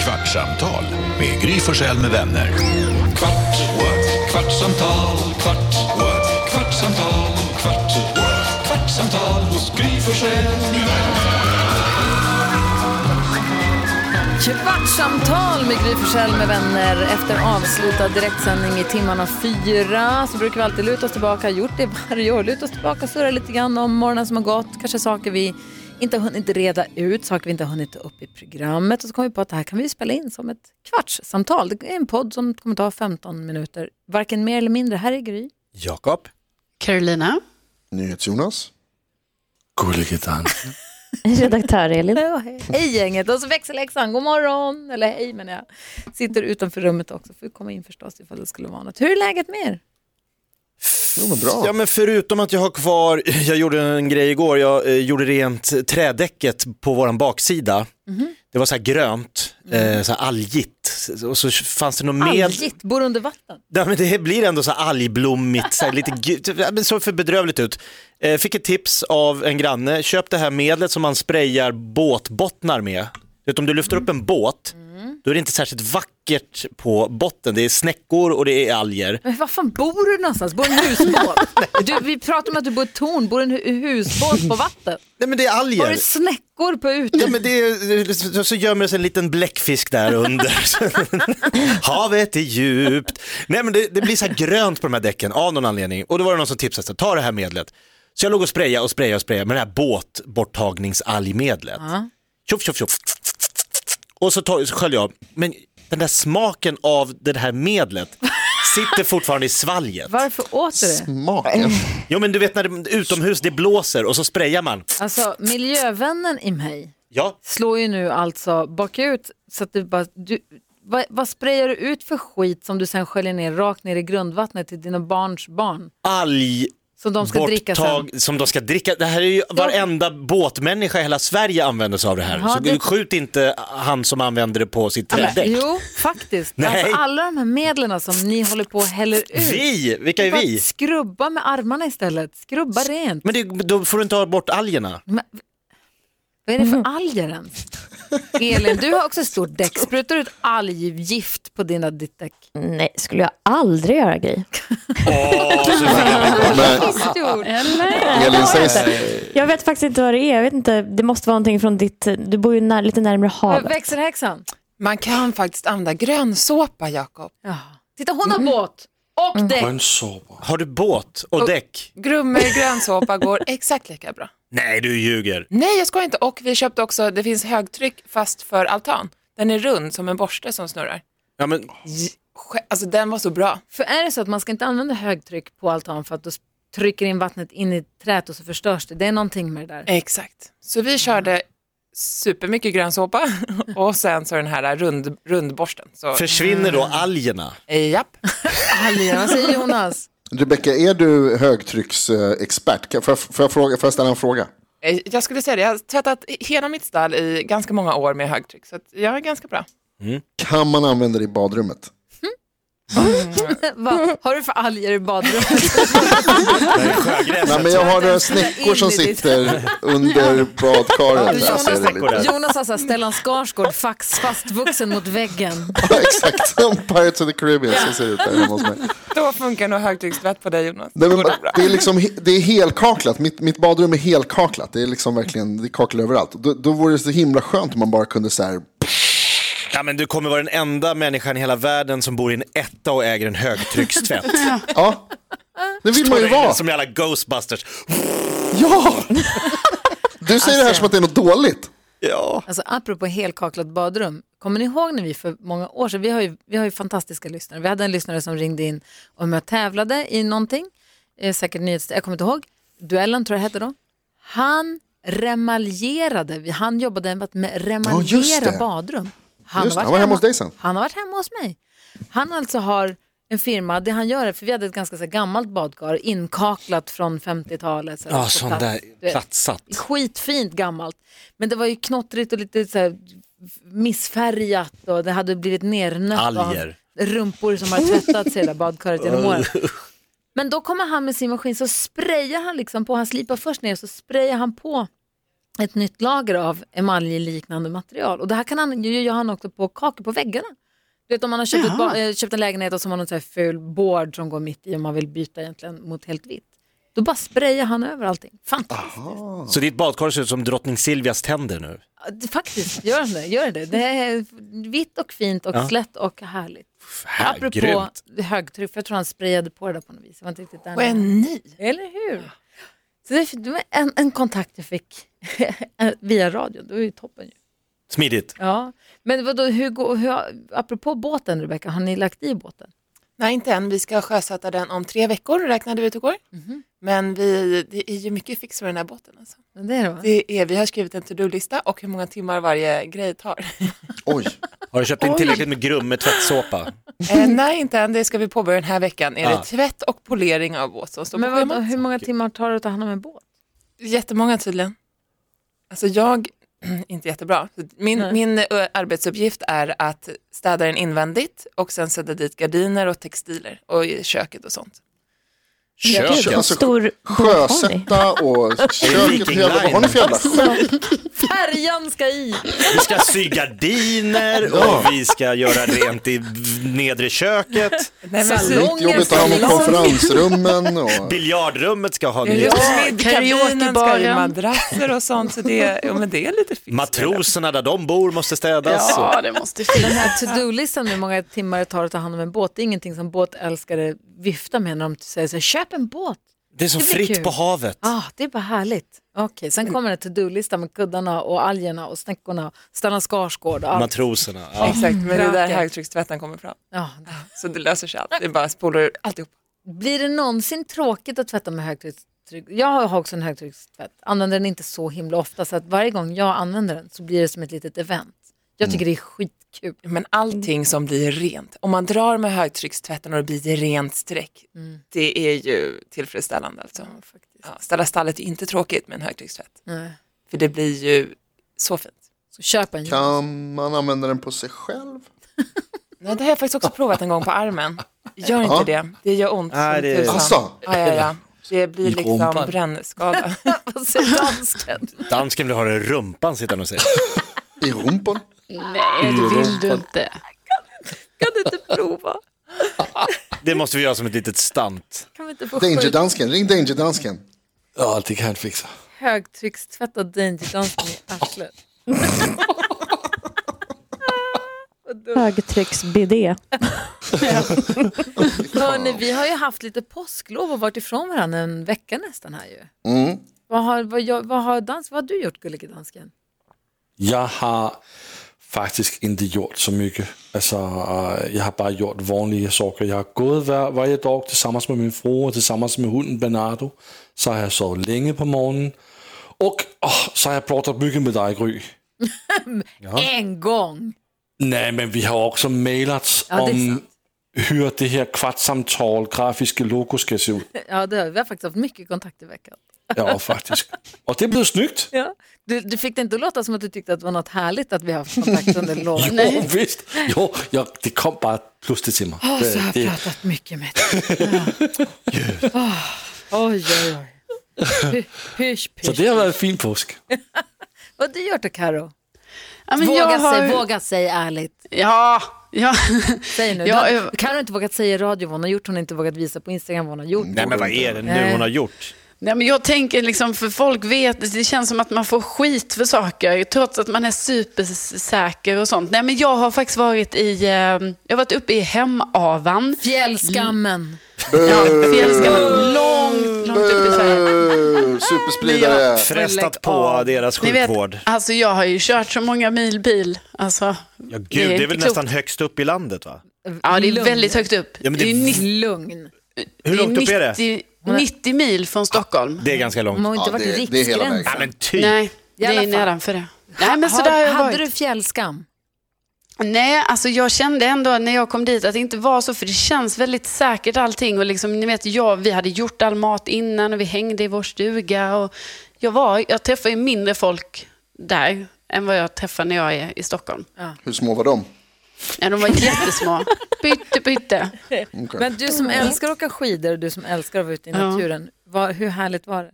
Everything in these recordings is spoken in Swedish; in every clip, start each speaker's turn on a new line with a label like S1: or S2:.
S1: Kvartsamtal med Gry Forssell med vänner. Kvart, what? kvartsamtal, kvart, what? kvartsamtal, kvart, what? kvartsamtal hos Gry Forssell med vänner.
S2: Kvartsamtal med Gry Forssell med vänner efter avslutad direktsändning i timmarna fyra. Så brukar vi alltid luta oss tillbaka, gjort det varje år. Luta oss tillbaka, surra lite grann om morgonen som har gått. Kanske saker vi inte har hunnit reda ut, saker vi inte har hunnit ta upp i programmet. Och så kom vi på att det här kan vi spela in som ett kvartssamtal. Det är en podd som kommer ta 15 minuter, varken mer eller mindre. Här är Gry.
S3: Jakob.
S4: Carolina.
S5: NyhetsJonas.
S6: Redaktör Elin.
S2: Ja, hej. Hej gänget och så växelläxan, god morgon, eller hej men jag sitter utanför rummet också, får komma in förstås ifall det skulle vara något. Hur är läget med er?
S5: Jo, men bra.
S3: Ja, men förutom att jag har kvar, jag gjorde en grej igår, jag eh, gjorde rent trädäcket på våran baksida. Det var så här grönt, eh, så här algigt. Och så fanns det något med.
S2: Algigt, bor under vatten.
S3: Ja, men det blir ändå så här algblommigt, så här lite gu- typ, ja, men såg för bedrövligt ut. Eh, fick ett tips av en granne, köp det här medlet som man sprayar båtbottnar med. Du Vet, om du lyfter upp en båt, då är det inte särskilt vackert på botten. Det är snäckor och det är alger.
S2: Men var fan bor du någonstans? Bor du i en husbåt? Du, vi pratar om att du bor i ett torn, bor du i en hu- husbåt på vatten?
S3: Nej men det är
S2: Har du
S3: alger.
S2: snäckor på
S3: Ja,
S2: ute?
S3: men det är, så gömmer det sig en liten bläckfisk där under. Havet är djupt. Nej, men det, det blir så här grönt på de här däcken av någon anledning. Och då var det någon som tipsade, så här, ta det här medlet. Så jag låg och sprayade och sprayade och sprayade med det här båtborttagningsalgmedlet. Tjoff, tjoff, tjoff. Och så, tar, så sköljer jag. Men den där smaken av det här medlet sitter fortfarande i svalget.
S2: Varför åt du det?
S5: Smaken.
S3: Jo men du vet när det, utomhus det blåser och så sprayar man.
S2: Alltså miljövännen i mig
S3: Ja,
S2: slår ju nu alltså bakut så att du bara, du, vad, vad sprayar du ut för skit som du sen sköljer ner rakt ner i grundvattnet till dina barns barn?
S3: alg
S2: Som de ska dricka sen.
S3: borttag som de ska dricka. Det här är ju varenda båtmänniska i hela Sverige använder sig av det här.
S2: Ja,
S3: så
S2: det-
S3: skjut inte han som använder det på sitt trädäck.
S2: Jo, faktiskt.
S3: Nej.
S2: Alltså, alla de här medlen som ni håller på och häller ut.
S3: Vi, vilka är
S2: Bara
S3: vi?
S2: Skrubba med armarna istället. Skrubba rent.
S3: Men det, då får du inte ha bort algerna.
S2: Men, vad är det för alger ens? Elin, du har också ett stort däck. Sprutar du ut alggift på dina, ditt däck?
S6: Nej, skulle jag aldrig göra grej.
S5: Men
S4: Eller?
S5: Elin sägs...
S6: Jag vet faktiskt inte vad det är. Jag vet inte. Det måste vara någonting från ditt... Du bor ju när, lite närmare havet.
S2: Växelhäxan.
S7: Man kan faktiskt använda grönsåpa, Jakob.
S2: Ja. Titta, hon har båt och däck.
S3: Har du båt och däck?
S7: Grummer grönsåpa går exakt lika bra.
S3: Nej, du ljuger.
S7: Nej, jag skojar inte. Och vi köpte också, det finns högtryck fast för altan. Den är rund som en borste som snurrar.
S3: Ja, men,
S7: Sj- Alltså den var så bra.
S2: För är det så att man ska inte använda högtryck på altan för att då trycker in vattnet in i träet och så förstörs det. Det är någonting med det där.
S7: Exakt. Så vi körde supermycket grönsåpa och sen så den här rund, rundborsten. Så, eh,
S3: försvinner
S2: Mm.
S3: då algerna?
S7: japp.
S2: Algerna, vad säger Jonas?
S5: Rebecka, är du högtrycksexpert? Kan- Får jag, får, jag fråga, får jag ställa en fråga?
S7: Eh, Jag skulle säga det, jag har tvättat hela mitt stall i ganska många år med högtryck. Så att jag är ganska bra.
S5: Kan man använda det i badrummet?
S2: Vad har du för alger i badrummet?
S5: Nej, men jag har några
S2: in
S5: snäckor
S2: i
S5: som
S2: ditt-
S5: sitter under badkaret. där, så är det lite-
S2: Jonas har så här Stellan Skarsgård fax fastvuxen mot väggen.
S5: Ja, Exakt, som Pirates of the Caribbean så ser det ut där hemma hos mig.
S7: Då funkar nog högtryckstvätt på dig Jonas.
S5: Nej, men,
S7: Går bra.
S5: det, är liksom, he- det är helkaklat, mitt, mitt badrum är helkaklat. Det är liksom verkligen, det är kakel överallt. Då, då vore det så himla skönt om man bara kunde så här,
S3: Ja, men du kommer vara den enda människan i hela världen som bor i en etta och äger en högtryckstvätt.
S5: ja. Det vill man ju vara.
S3: Som i alla Ghostbusters.
S5: Ja! Du säger det här som att det är något dåligt.
S3: Ja.
S2: Alltså apropå helkaklat badrum, kommer ni ihåg när vi för många år sedan, vi har ju, vi har ju fantastiska lyssnare, vi hade en lyssnare som ringde in och jag tävlade i någonting, eh, säkert nyhets, jag kommer inte ihåg, duellen tror jag hette då. Han remaljerade, Vi- han jobbade med att me- remaljera
S5: det.
S2: badrum. Han,
S5: Just, det,
S2: har
S5: han
S2: varit
S5: var hemma hos dig sen.
S2: han har varit hemma hos mig. Han alltså har en firma, det han gör är, för vi hade ett ganska så här, gammalt badkar, inkaklat från 50-talet. så här,
S3: Ja,
S2: på
S3: sån
S2: plats.
S3: där
S2: Du vet,
S3: platssatt.
S2: skitfint gammalt. Men det var ju knottrigt och lite så här missfärgat och det hade blivit nernött
S3: Alger.
S2: av rumpor som har tvättat sig i det där badkaret genom åren. Men då kommer han med sin maskin så sprayar han liksom på, han slipar först ner så sprayar han på ett nytt lager av emaljliknande material. Och det här kan han, ju- gör han också på kakor på väggarna. Du vet om man har köpt, ett ba- eh, köpt en lägenhet och så har man någon så här ful board som går mitt i och man vill byta egentligen mot helt vitt. Då bara sprayar han över allting. Fantastiskt.
S3: Så ditt badkar ser ut som drottning Silvias tänder nu.
S2: Ja, det- Faktiskt, gör han det. Gör det. det är vitt och fint och
S3: Ja.
S2: slätt och härligt.
S3: Här,
S2: Apropå
S3: grymt.
S2: högtryck, för jag tror han sprayade på det där på något vis. Jag var inte riktigt där.
S7: Och en ny.
S2: Eller hur? Så det det var en, en kontakt jag fick via radion, det var ju toppen. Ju.
S3: Smidigt.
S2: Ja. Men vadå, hur, går- hur, apropå båten Rebecka, har ni lagt i båten?
S7: Nej, inte än. Vi ska sjösätta den om tre veckor, räknade vi ut igår.
S2: Mhm.
S7: Men vi, det är ju mycket fix med den här båten. Alltså.
S2: Men Det är det, va?
S7: Det är, vi har skrivit en to-do-lista och hur många timmar varje grej tar.
S5: Oj,
S3: Har du köpt in tillräckligt med grumme tvättsåpa?
S7: eh, nej, inte än. Det ska vi påbörja den här veckan. Är
S3: Ah.
S7: det tvätt och polering av båt som står
S2: Men
S7: på
S2: vadå,
S7: schemat?
S2: hur många timmar tar det att ta hand om en båt?
S7: Jättemånga tydligen. Alltså jag, inte jättebra. Min,
S2: Nej.
S7: min ö, arbetsuppgift är att städa den invändigt och sen sätta dit gardiner och textiler och i köket och sånt.
S5: Kö-
S3: Köket.
S5: alltså,
S6: Stor båtpony.
S5: sjösätta och köket.
S3: Viking
S5: Jävla, vad har ni för jävla
S2: Färjan ska i!
S3: Vi ska sy gardiner och vi ska göra rent i nedre köket.
S7: Nej, men, så,
S2: Salongen
S5: skitjobbigt att
S2: ska
S5: ha med
S2: i.
S5: konferensrummen och...
S3: Biljardrummet ska ha nya.
S7: just smidkabinen ska i
S4: karaokebaren.
S7: madrasser och sånt. Så det, jo, men det är lite fix.
S3: Matroserna där de bor måste städas.
S4: Ja, det måste
S2: Den
S4: finnas.
S2: här to-do-listan med hur många timmar det tar att ta hand om en båt, det är ingenting som båtälskare viftar med när de säger så här, köp en båt.
S3: Det är så
S2: Det blir
S3: fritt
S2: kul.
S3: på havet.
S2: Ah, det är bara härligt. Okej, sen kommer en to-do-lista med kuddarna och algerna och snäckorna, Stellan Skarsgård och allt.
S3: Matroserna. Ja.
S7: Exakt, men det är där
S2: Röken.
S7: högtryckstvätten kommer fram.
S2: Ja,
S7: Så det löser sig allt. Det är bara spolar ur alltihop.
S2: Blir det någonsin tråkigt att tvätta med högtryck? Jag har också en högtryckstvätt. Använder den inte så himla ofta så att varje gång jag använder den så blir det som ett litet event. Jag tycker det är skitkul.
S7: Men allting som blir rent, om man drar med högtryckstvätten och det blir rent streck,
S2: Mm,
S7: det är ju tillfredsställande alltså. Ja, ställa stallet är inte tråkigt med en högtryckstvätt,
S2: Nej.
S7: för det blir ju så fint.
S2: Så köp en.
S5: Kan man använda den på sig själv?
S7: Nej, det har jag faktiskt också provat en gång på armen. Gör inte
S5: Ja.
S7: det, det gör ont.
S3: Nej,
S7: som
S3: det-
S7: tusan.
S5: Asså?
S7: Ja, ja, ja. Det blir
S3: Gick
S7: liksom
S3: rumpan.
S7: brännskada.
S2: Vad säger dansken?
S3: Dansken vill ha det i rumpan sitter han och säger.
S5: I rumpan?
S4: Nej, det vill du inte.
S2: Kan du inte prova?
S3: Det måste vi göra som ett litet stunt.
S2: Kan vi inte få
S5: Danger
S2: sjukt
S5: dansken, ring danger dansken.
S8: Ja, det kan han fixa.
S2: högtryckstvätt och dangerdansken i arslet?
S6: Högtrycksbidé.
S2: Hörni, vi har ju haft lite påsklov och varit ifrån varandra en vecka nästan här ju.
S5: Mm.
S2: Vad har, vad, jag- vad har, dans, vad har du gjort gullige dansken?
S8: Jag har faktiskt inte gjort så mycket. Alltså, jag har bara gjort vanliga saker. Jag har gått var, varje dag tillsammans med min fru och tillsammans med hunden Bernardo. Så har jag sovit länge på morgonen. Och åh, så har jag pratat mycket med dig, Gry.
S2: En gång!
S8: Nej, men vi har också mailat
S2: Ja, det är
S8: om
S2: sant.
S8: hur det här kvartssamtal, grafiska logo ska se ut.
S2: Ja, det har, vi. vi har faktiskt haft mycket kontakt i veckan.
S8: Ja, faktiskt. Och det blev snyggt.
S2: Ja. Du, du fick det inte att låta som att du tyckte att det var något härligt att vi har haft kontakt under lovet.
S8: Jo, visst. Jo, jag, det kom bara plötsligt till mig.
S2: Åh, så
S8: Det-
S2: jag har
S8: det-
S2: pratat mycket med dig. Ja. Oh, oj, oj, oj. Py- Pysch,
S8: så
S2: pysch.
S8: det har varit en fin påsk.
S2: Vad har du gjort då, Karo?
S4: Ja, men
S2: Våga,
S4: jag har...
S2: sig, våga sig ärligt.
S4: Ja, ja.
S2: Säg nu.
S4: Jag
S2: Ja,
S4: är-
S2: Karo har inte vågat säga i radio vad hon har gjort. Hon har inte vågat visa på Instagram vad hon har gjort.
S3: Nej men vad är det nu
S2: Nej.
S3: hon har gjort?
S4: Nej, men jag tänker liksom, för folk vet, det känns som att man får skit för saker, trots att man är supersäker och sånt. Nej, men jag har faktiskt varit i, eh, jag har varit uppe i Hemavan.
S2: Fjällskammen.
S4: Ja,
S5: Eh,
S4: fjällskammen, långt, lågt upp i Sverige.
S5: Uh, superspridare.
S3: Frestat
S2: lägg
S3: på
S2: av.
S3: deras
S4: Ni vet,
S3: sjukvård.
S4: alltså jag har ju kört så många mil bil. Alltså,
S3: Ja, gud, det är,
S4: inte
S3: väl
S4: klokt.
S3: nästan högst upp i landet va?
S4: Ja, det är
S2: Lugn.
S4: väldigt högt upp.
S3: Ja, men det-
S4: är nitt-
S2: Lugn.
S3: Hur långt upp är det?
S4: 90, 90 mil från Stockholm.
S3: Det är ganska
S2: Hon
S3: långt.
S2: har inte
S5: Ja,
S2: varit i
S5: det- det är hela
S2: riksgränsen.
S5: vägen.
S3: Ja men typ.
S4: Nej, det
S2: alla
S4: är
S2: fall.
S4: nedanför det. Nej, men så
S2: Har-
S4: där har jag
S2: hade
S4: varit.
S2: du fjällskam?
S4: Nej, alltså jag kände ändå när jag kom dit att det inte var så, för det känns väldigt säkert allting. Och liksom, ni vet, jag, vi hade gjort all mat innan och vi hängde i vår stuga. Och jag, var, jag träffar ju mindre folk där än vad jag träffar när jag är i Stockholm.
S5: Hur små var de?
S4: Ja, de var jättesmå. Pytte, pytte.
S2: Men du som älskar att åka skidor och du som älskar att vara ute i
S4: Ja.
S2: naturen, vad, hur härligt var det?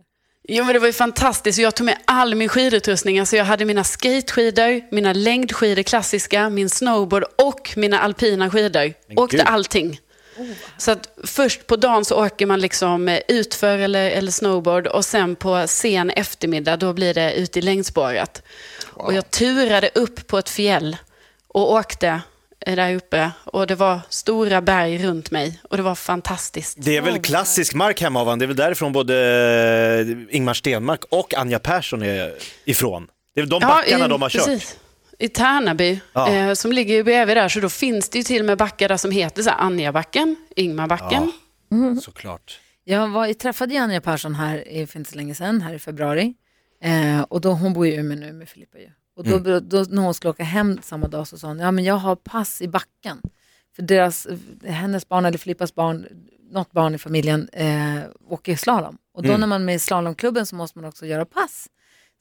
S4: Jo men det var ju fantastiskt. Jag tog med all min skidutrustning. Alltså jag hade mina skateskidor, mina längdskidor klassiska, min snowboard och mina alpina skidor. Åkte
S3: gud.
S4: allting. Så att först på dagen så åker man liksom eh, utför eller, eller snowboard och sen på sen eftermiddag då blir det ute i längdspåret. Och jag turade upp på ett fjäll och åkte eh, där uppe och det var stora berg runt mig och det var fantastiskt.
S3: Det är väl klassisk mark hemma av han. Det är väl därifrån både eh, Ingmar Stenmark och Anja Persson är ifrån. Det är väl de backarna
S4: i-
S3: de har kört.
S4: eh, precis. I Tärnaby,
S3: Ja.
S4: eh, som ligger ju bredvid där, så då finns det ju till och med backar där som heter så här Anjabacken, Ingmarbacken.
S3: Såklart.
S2: Jag, var, jag träffade Janja Persson här i- för inte så länge sedan, här i februari. Eh, och då, hon bor ju i Umeå nu med Filippa ju. Och då, då, när hon skulle åka hem samma dag så sa hon, ja men jag har pass i backen. För deras, eh, hennes barn eller Filippas barn, något barn i familjen eh, åker slalom. Och då när man är med i slalomklubben så måste man också göra pass.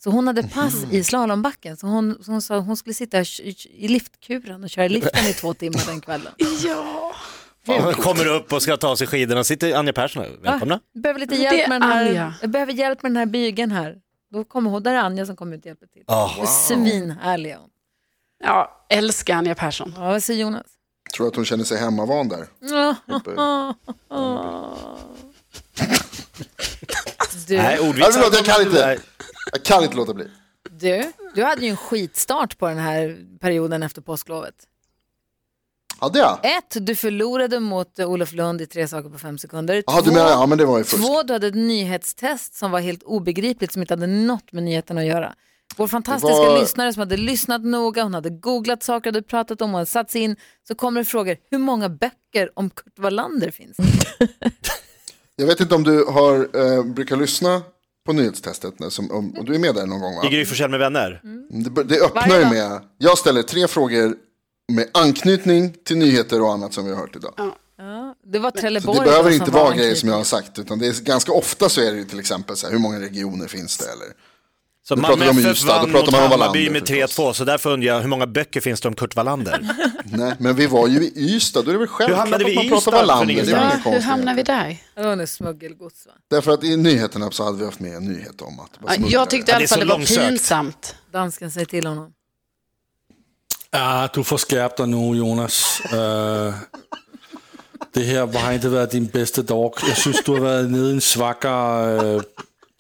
S2: Så hon hade pass i slalombacken. Så hon, så hon sa hon skulle sitta i- i liftkuren och köra liften i två timmar den kvällen.
S3: Fan, kommer upp och ska ta sig skidorna. Sitter Anja Persson här. Välkomna.
S2: Jag behöver lite
S4: Det
S2: hjälp
S4: är
S2: med, den här,
S4: Anja.
S2: jag behöver hjälp med den här bygeln här. Då kommer hon, där är Anja som kommer ut och hjälper till.
S3: Ah.
S2: Wow. Svinhärlig är hon.
S4: Ja, älskar Anja Persson.
S2: Ja, vad säger Jonas?
S5: Tror att hon känner sig hemmavan där? Uppe.
S2: Du,
S3: Nej, ordvitsar.
S5: Ja, förlåt, jag kan inte.
S3: Nej.
S5: Jag kan inte låta bli.
S2: du, du hade ju en skitstart på den här perioden efter påsklovet.
S5: Hade jag?
S2: Ett, du förlorade mot eh, Olof Lund i tre saker på fem sekunder.
S5: Ja, du
S2: Två-
S5: menar, ja men det var ju fusk.
S2: Två, du hade ett nyhetstest som var helt obegripligt, som inte hade något med nyheten att göra. Vår fantastiska
S5: Det var-
S2: lyssnare som hade lyssnat noga, hon hade googlat saker, hade pratat om, hon hade satt sig in. Så kommer det frågor, hur många böcker om Kurt Wallander finns det?
S5: Jag vet inte om du har, eh, brukar lyssna på nyhetstestet, nu, som, om, och du är med där någon gång va?
S3: I Gry Forssell med vänner.
S5: Det, det öppnar ju med, jag ställer tre frågor med anknytning till nyheter och annat som vi har hört idag.
S2: Det var
S5: Så
S2: Trelleborg.
S5: det behöver
S2: då
S5: inte
S2: som var
S5: vara grejer som
S2: anknytning.
S5: jag har sagt, utan det är, ganska ofta så är det ju till exempel så här, hur många regioner finns det? Eller?
S3: Så
S5: Nu
S3: Malmö
S5: pratar vi om
S3: FF
S5: Ystad, då
S3: vann
S5: pratar
S3: mot
S5: man om
S3: Hammarby med
S5: Wallander
S3: 3-2, så därför undrar jag hur många böcker finns det om Kurt Wallander?
S5: Nej, men vi var ju i Ystad, då är det väl självklart
S3: hamnade
S5: att
S3: vi
S5: man
S3: i
S5: pratar
S3: Ystad
S5: Wallander.
S3: för
S5: Det är väl
S4: Ja,
S5: inga
S4: hur hamnar vi
S5: konstigheter.
S4: där?
S2: Det var nu smuggelgods va?
S5: Därför att i nyheterna så hade vi haft med en nyhet om att...
S4: Ja, jag
S3: Ja,
S4: tyckte i
S3: det
S4: alla
S3: är
S4: fall
S3: så
S4: det var
S3: långsökt.
S4: pinsamt.
S2: Dansken säger till honom.
S8: Ah, du får skärpa dig nu Jonas. Eh, det här har inte varit din bästa dag. Jag syns du har varit nere i en svacka eh,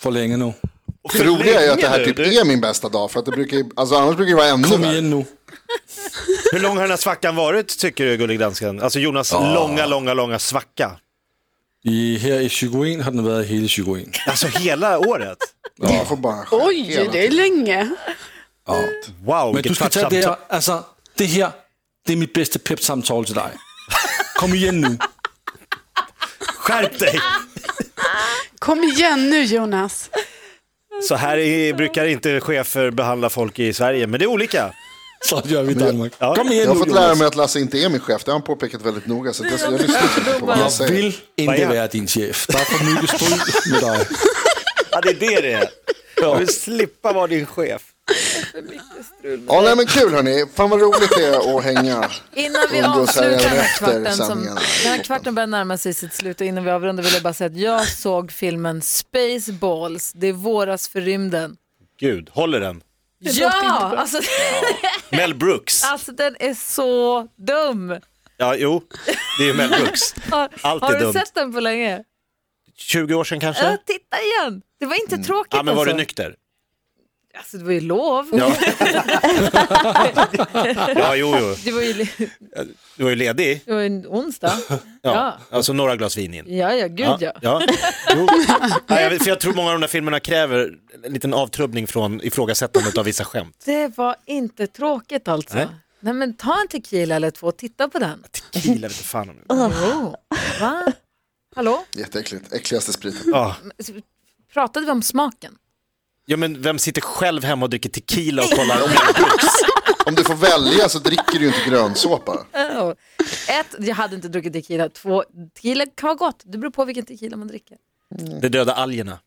S8: för länge nu.
S5: Det roliga är ju att det här
S3: Nu,
S5: typ
S3: du.
S5: är min bästa dag, för att det brukar ju, alltså annars brukar det vara ännu
S8: Kom
S5: värre.
S8: igen nu.
S3: Hur lång har den här svackan varit, tycker du, Gullig Dansken? Alltså Jonas långa, långa, långa svacka.
S8: I, här i 21 har den varit hela 21.
S3: Alltså hela året?
S5: Man får bara skära hela tiden.
S4: är länge.
S3: Wow,
S8: Men du
S3: vilket
S8: ska ta
S3: kvartssamtal.
S8: det här, alltså det här, det är mitt bästa peppsamtal till dig. Kom igen nu.
S3: Skärp dig!
S4: Kom igen nu Jonas.
S3: Så här är, brukar inte chefer behandla folk i Sverige, men det är olika.
S8: Så gör vi i Danmark.
S3: Ja.
S8: Kom igen
S5: Jag har
S8: nu
S5: fått
S8: Jonas.
S5: lära mig att Lasse inte är min chef, det har han påpekat väldigt noga. Så att jag, jag lyssnar inte på vad han
S8: Jag
S5: säger.
S8: vill inte
S3: jag?
S8: vara din chef. Det är för mycket strul med dig.
S3: Ja, det är det det är. Jag vill slippa vara din chef.
S5: Ja, nej, men kul hörni, fan vad roligt det är att hänga.
S2: Innan vi
S5: Umgås
S2: avslutar
S5: här
S2: den
S5: även
S2: här
S5: efter
S2: kvarten, som,
S5: sändningarna.
S2: den här kvarten börjar närma sig sitt slut och innan vi avrundar vill jag bara säga att jag såg filmen Spaceballs, det är våras för rymden.
S3: Gud, håller den?
S2: Ja, alltså,
S3: Mel Brooks.
S2: alltså den är så dum.
S3: Ja, jo, det är ju Mel Brooks.
S2: Har,
S3: Allt
S2: har
S3: är
S2: du
S3: dumt.
S2: sett den på länge?
S3: 20 år sedan kanske?
S2: Ja, titta igen. Det var inte tråkigt
S3: Mm. Ja, men var du
S2: alltså.
S3: nykter?
S2: alltså. Det var ju lov.
S3: Ja, ja jo, jo.
S2: Det, var ju,
S3: Du var ju ledig.
S2: det var ju en onsdag.
S3: Ja.
S2: Ja.
S3: Alltså några glas vin in.
S2: Ja, ja, gud ja.
S3: ja. Jo. Nej, jag, vet- för jag tror många av de där filmerna kräver en liten avtrubbning från ifrågasättandet av vissa skämt.
S2: Det var inte tråkigt alltså.
S3: Nej.
S2: Nej. men ta en tequila eller två och titta på den.
S3: Kilar vete fan om det.
S2: Jo. Va? Hallå?
S5: Jätteäckligt, äckligaste spriten.
S3: Ja.
S2: Pratade vi om smaken?
S3: ja, men vem sitter själv hemma och dricker tequila och kollar om det?
S5: Om du får välja så dricker du ju inte grönsåpa.
S2: Oh. Ett, jag hade inte druckit tequila. Två, tequila kan vara gott. Det beror på vilken tequila man dricker.
S3: det döda algerna?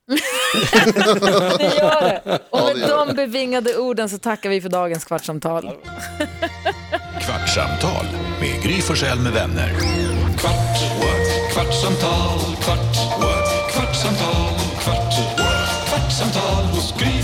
S2: Det gör det. Och med
S5: det gör
S2: de bevingade orden så tackar vi för dagens kvartssamtal.
S1: Kvartsamtal med Gry Forssell med vänner. Kvart, what? kvartsamtal, kvart, what? kvartsamtal, kvart, what? kvartsamtal, Gry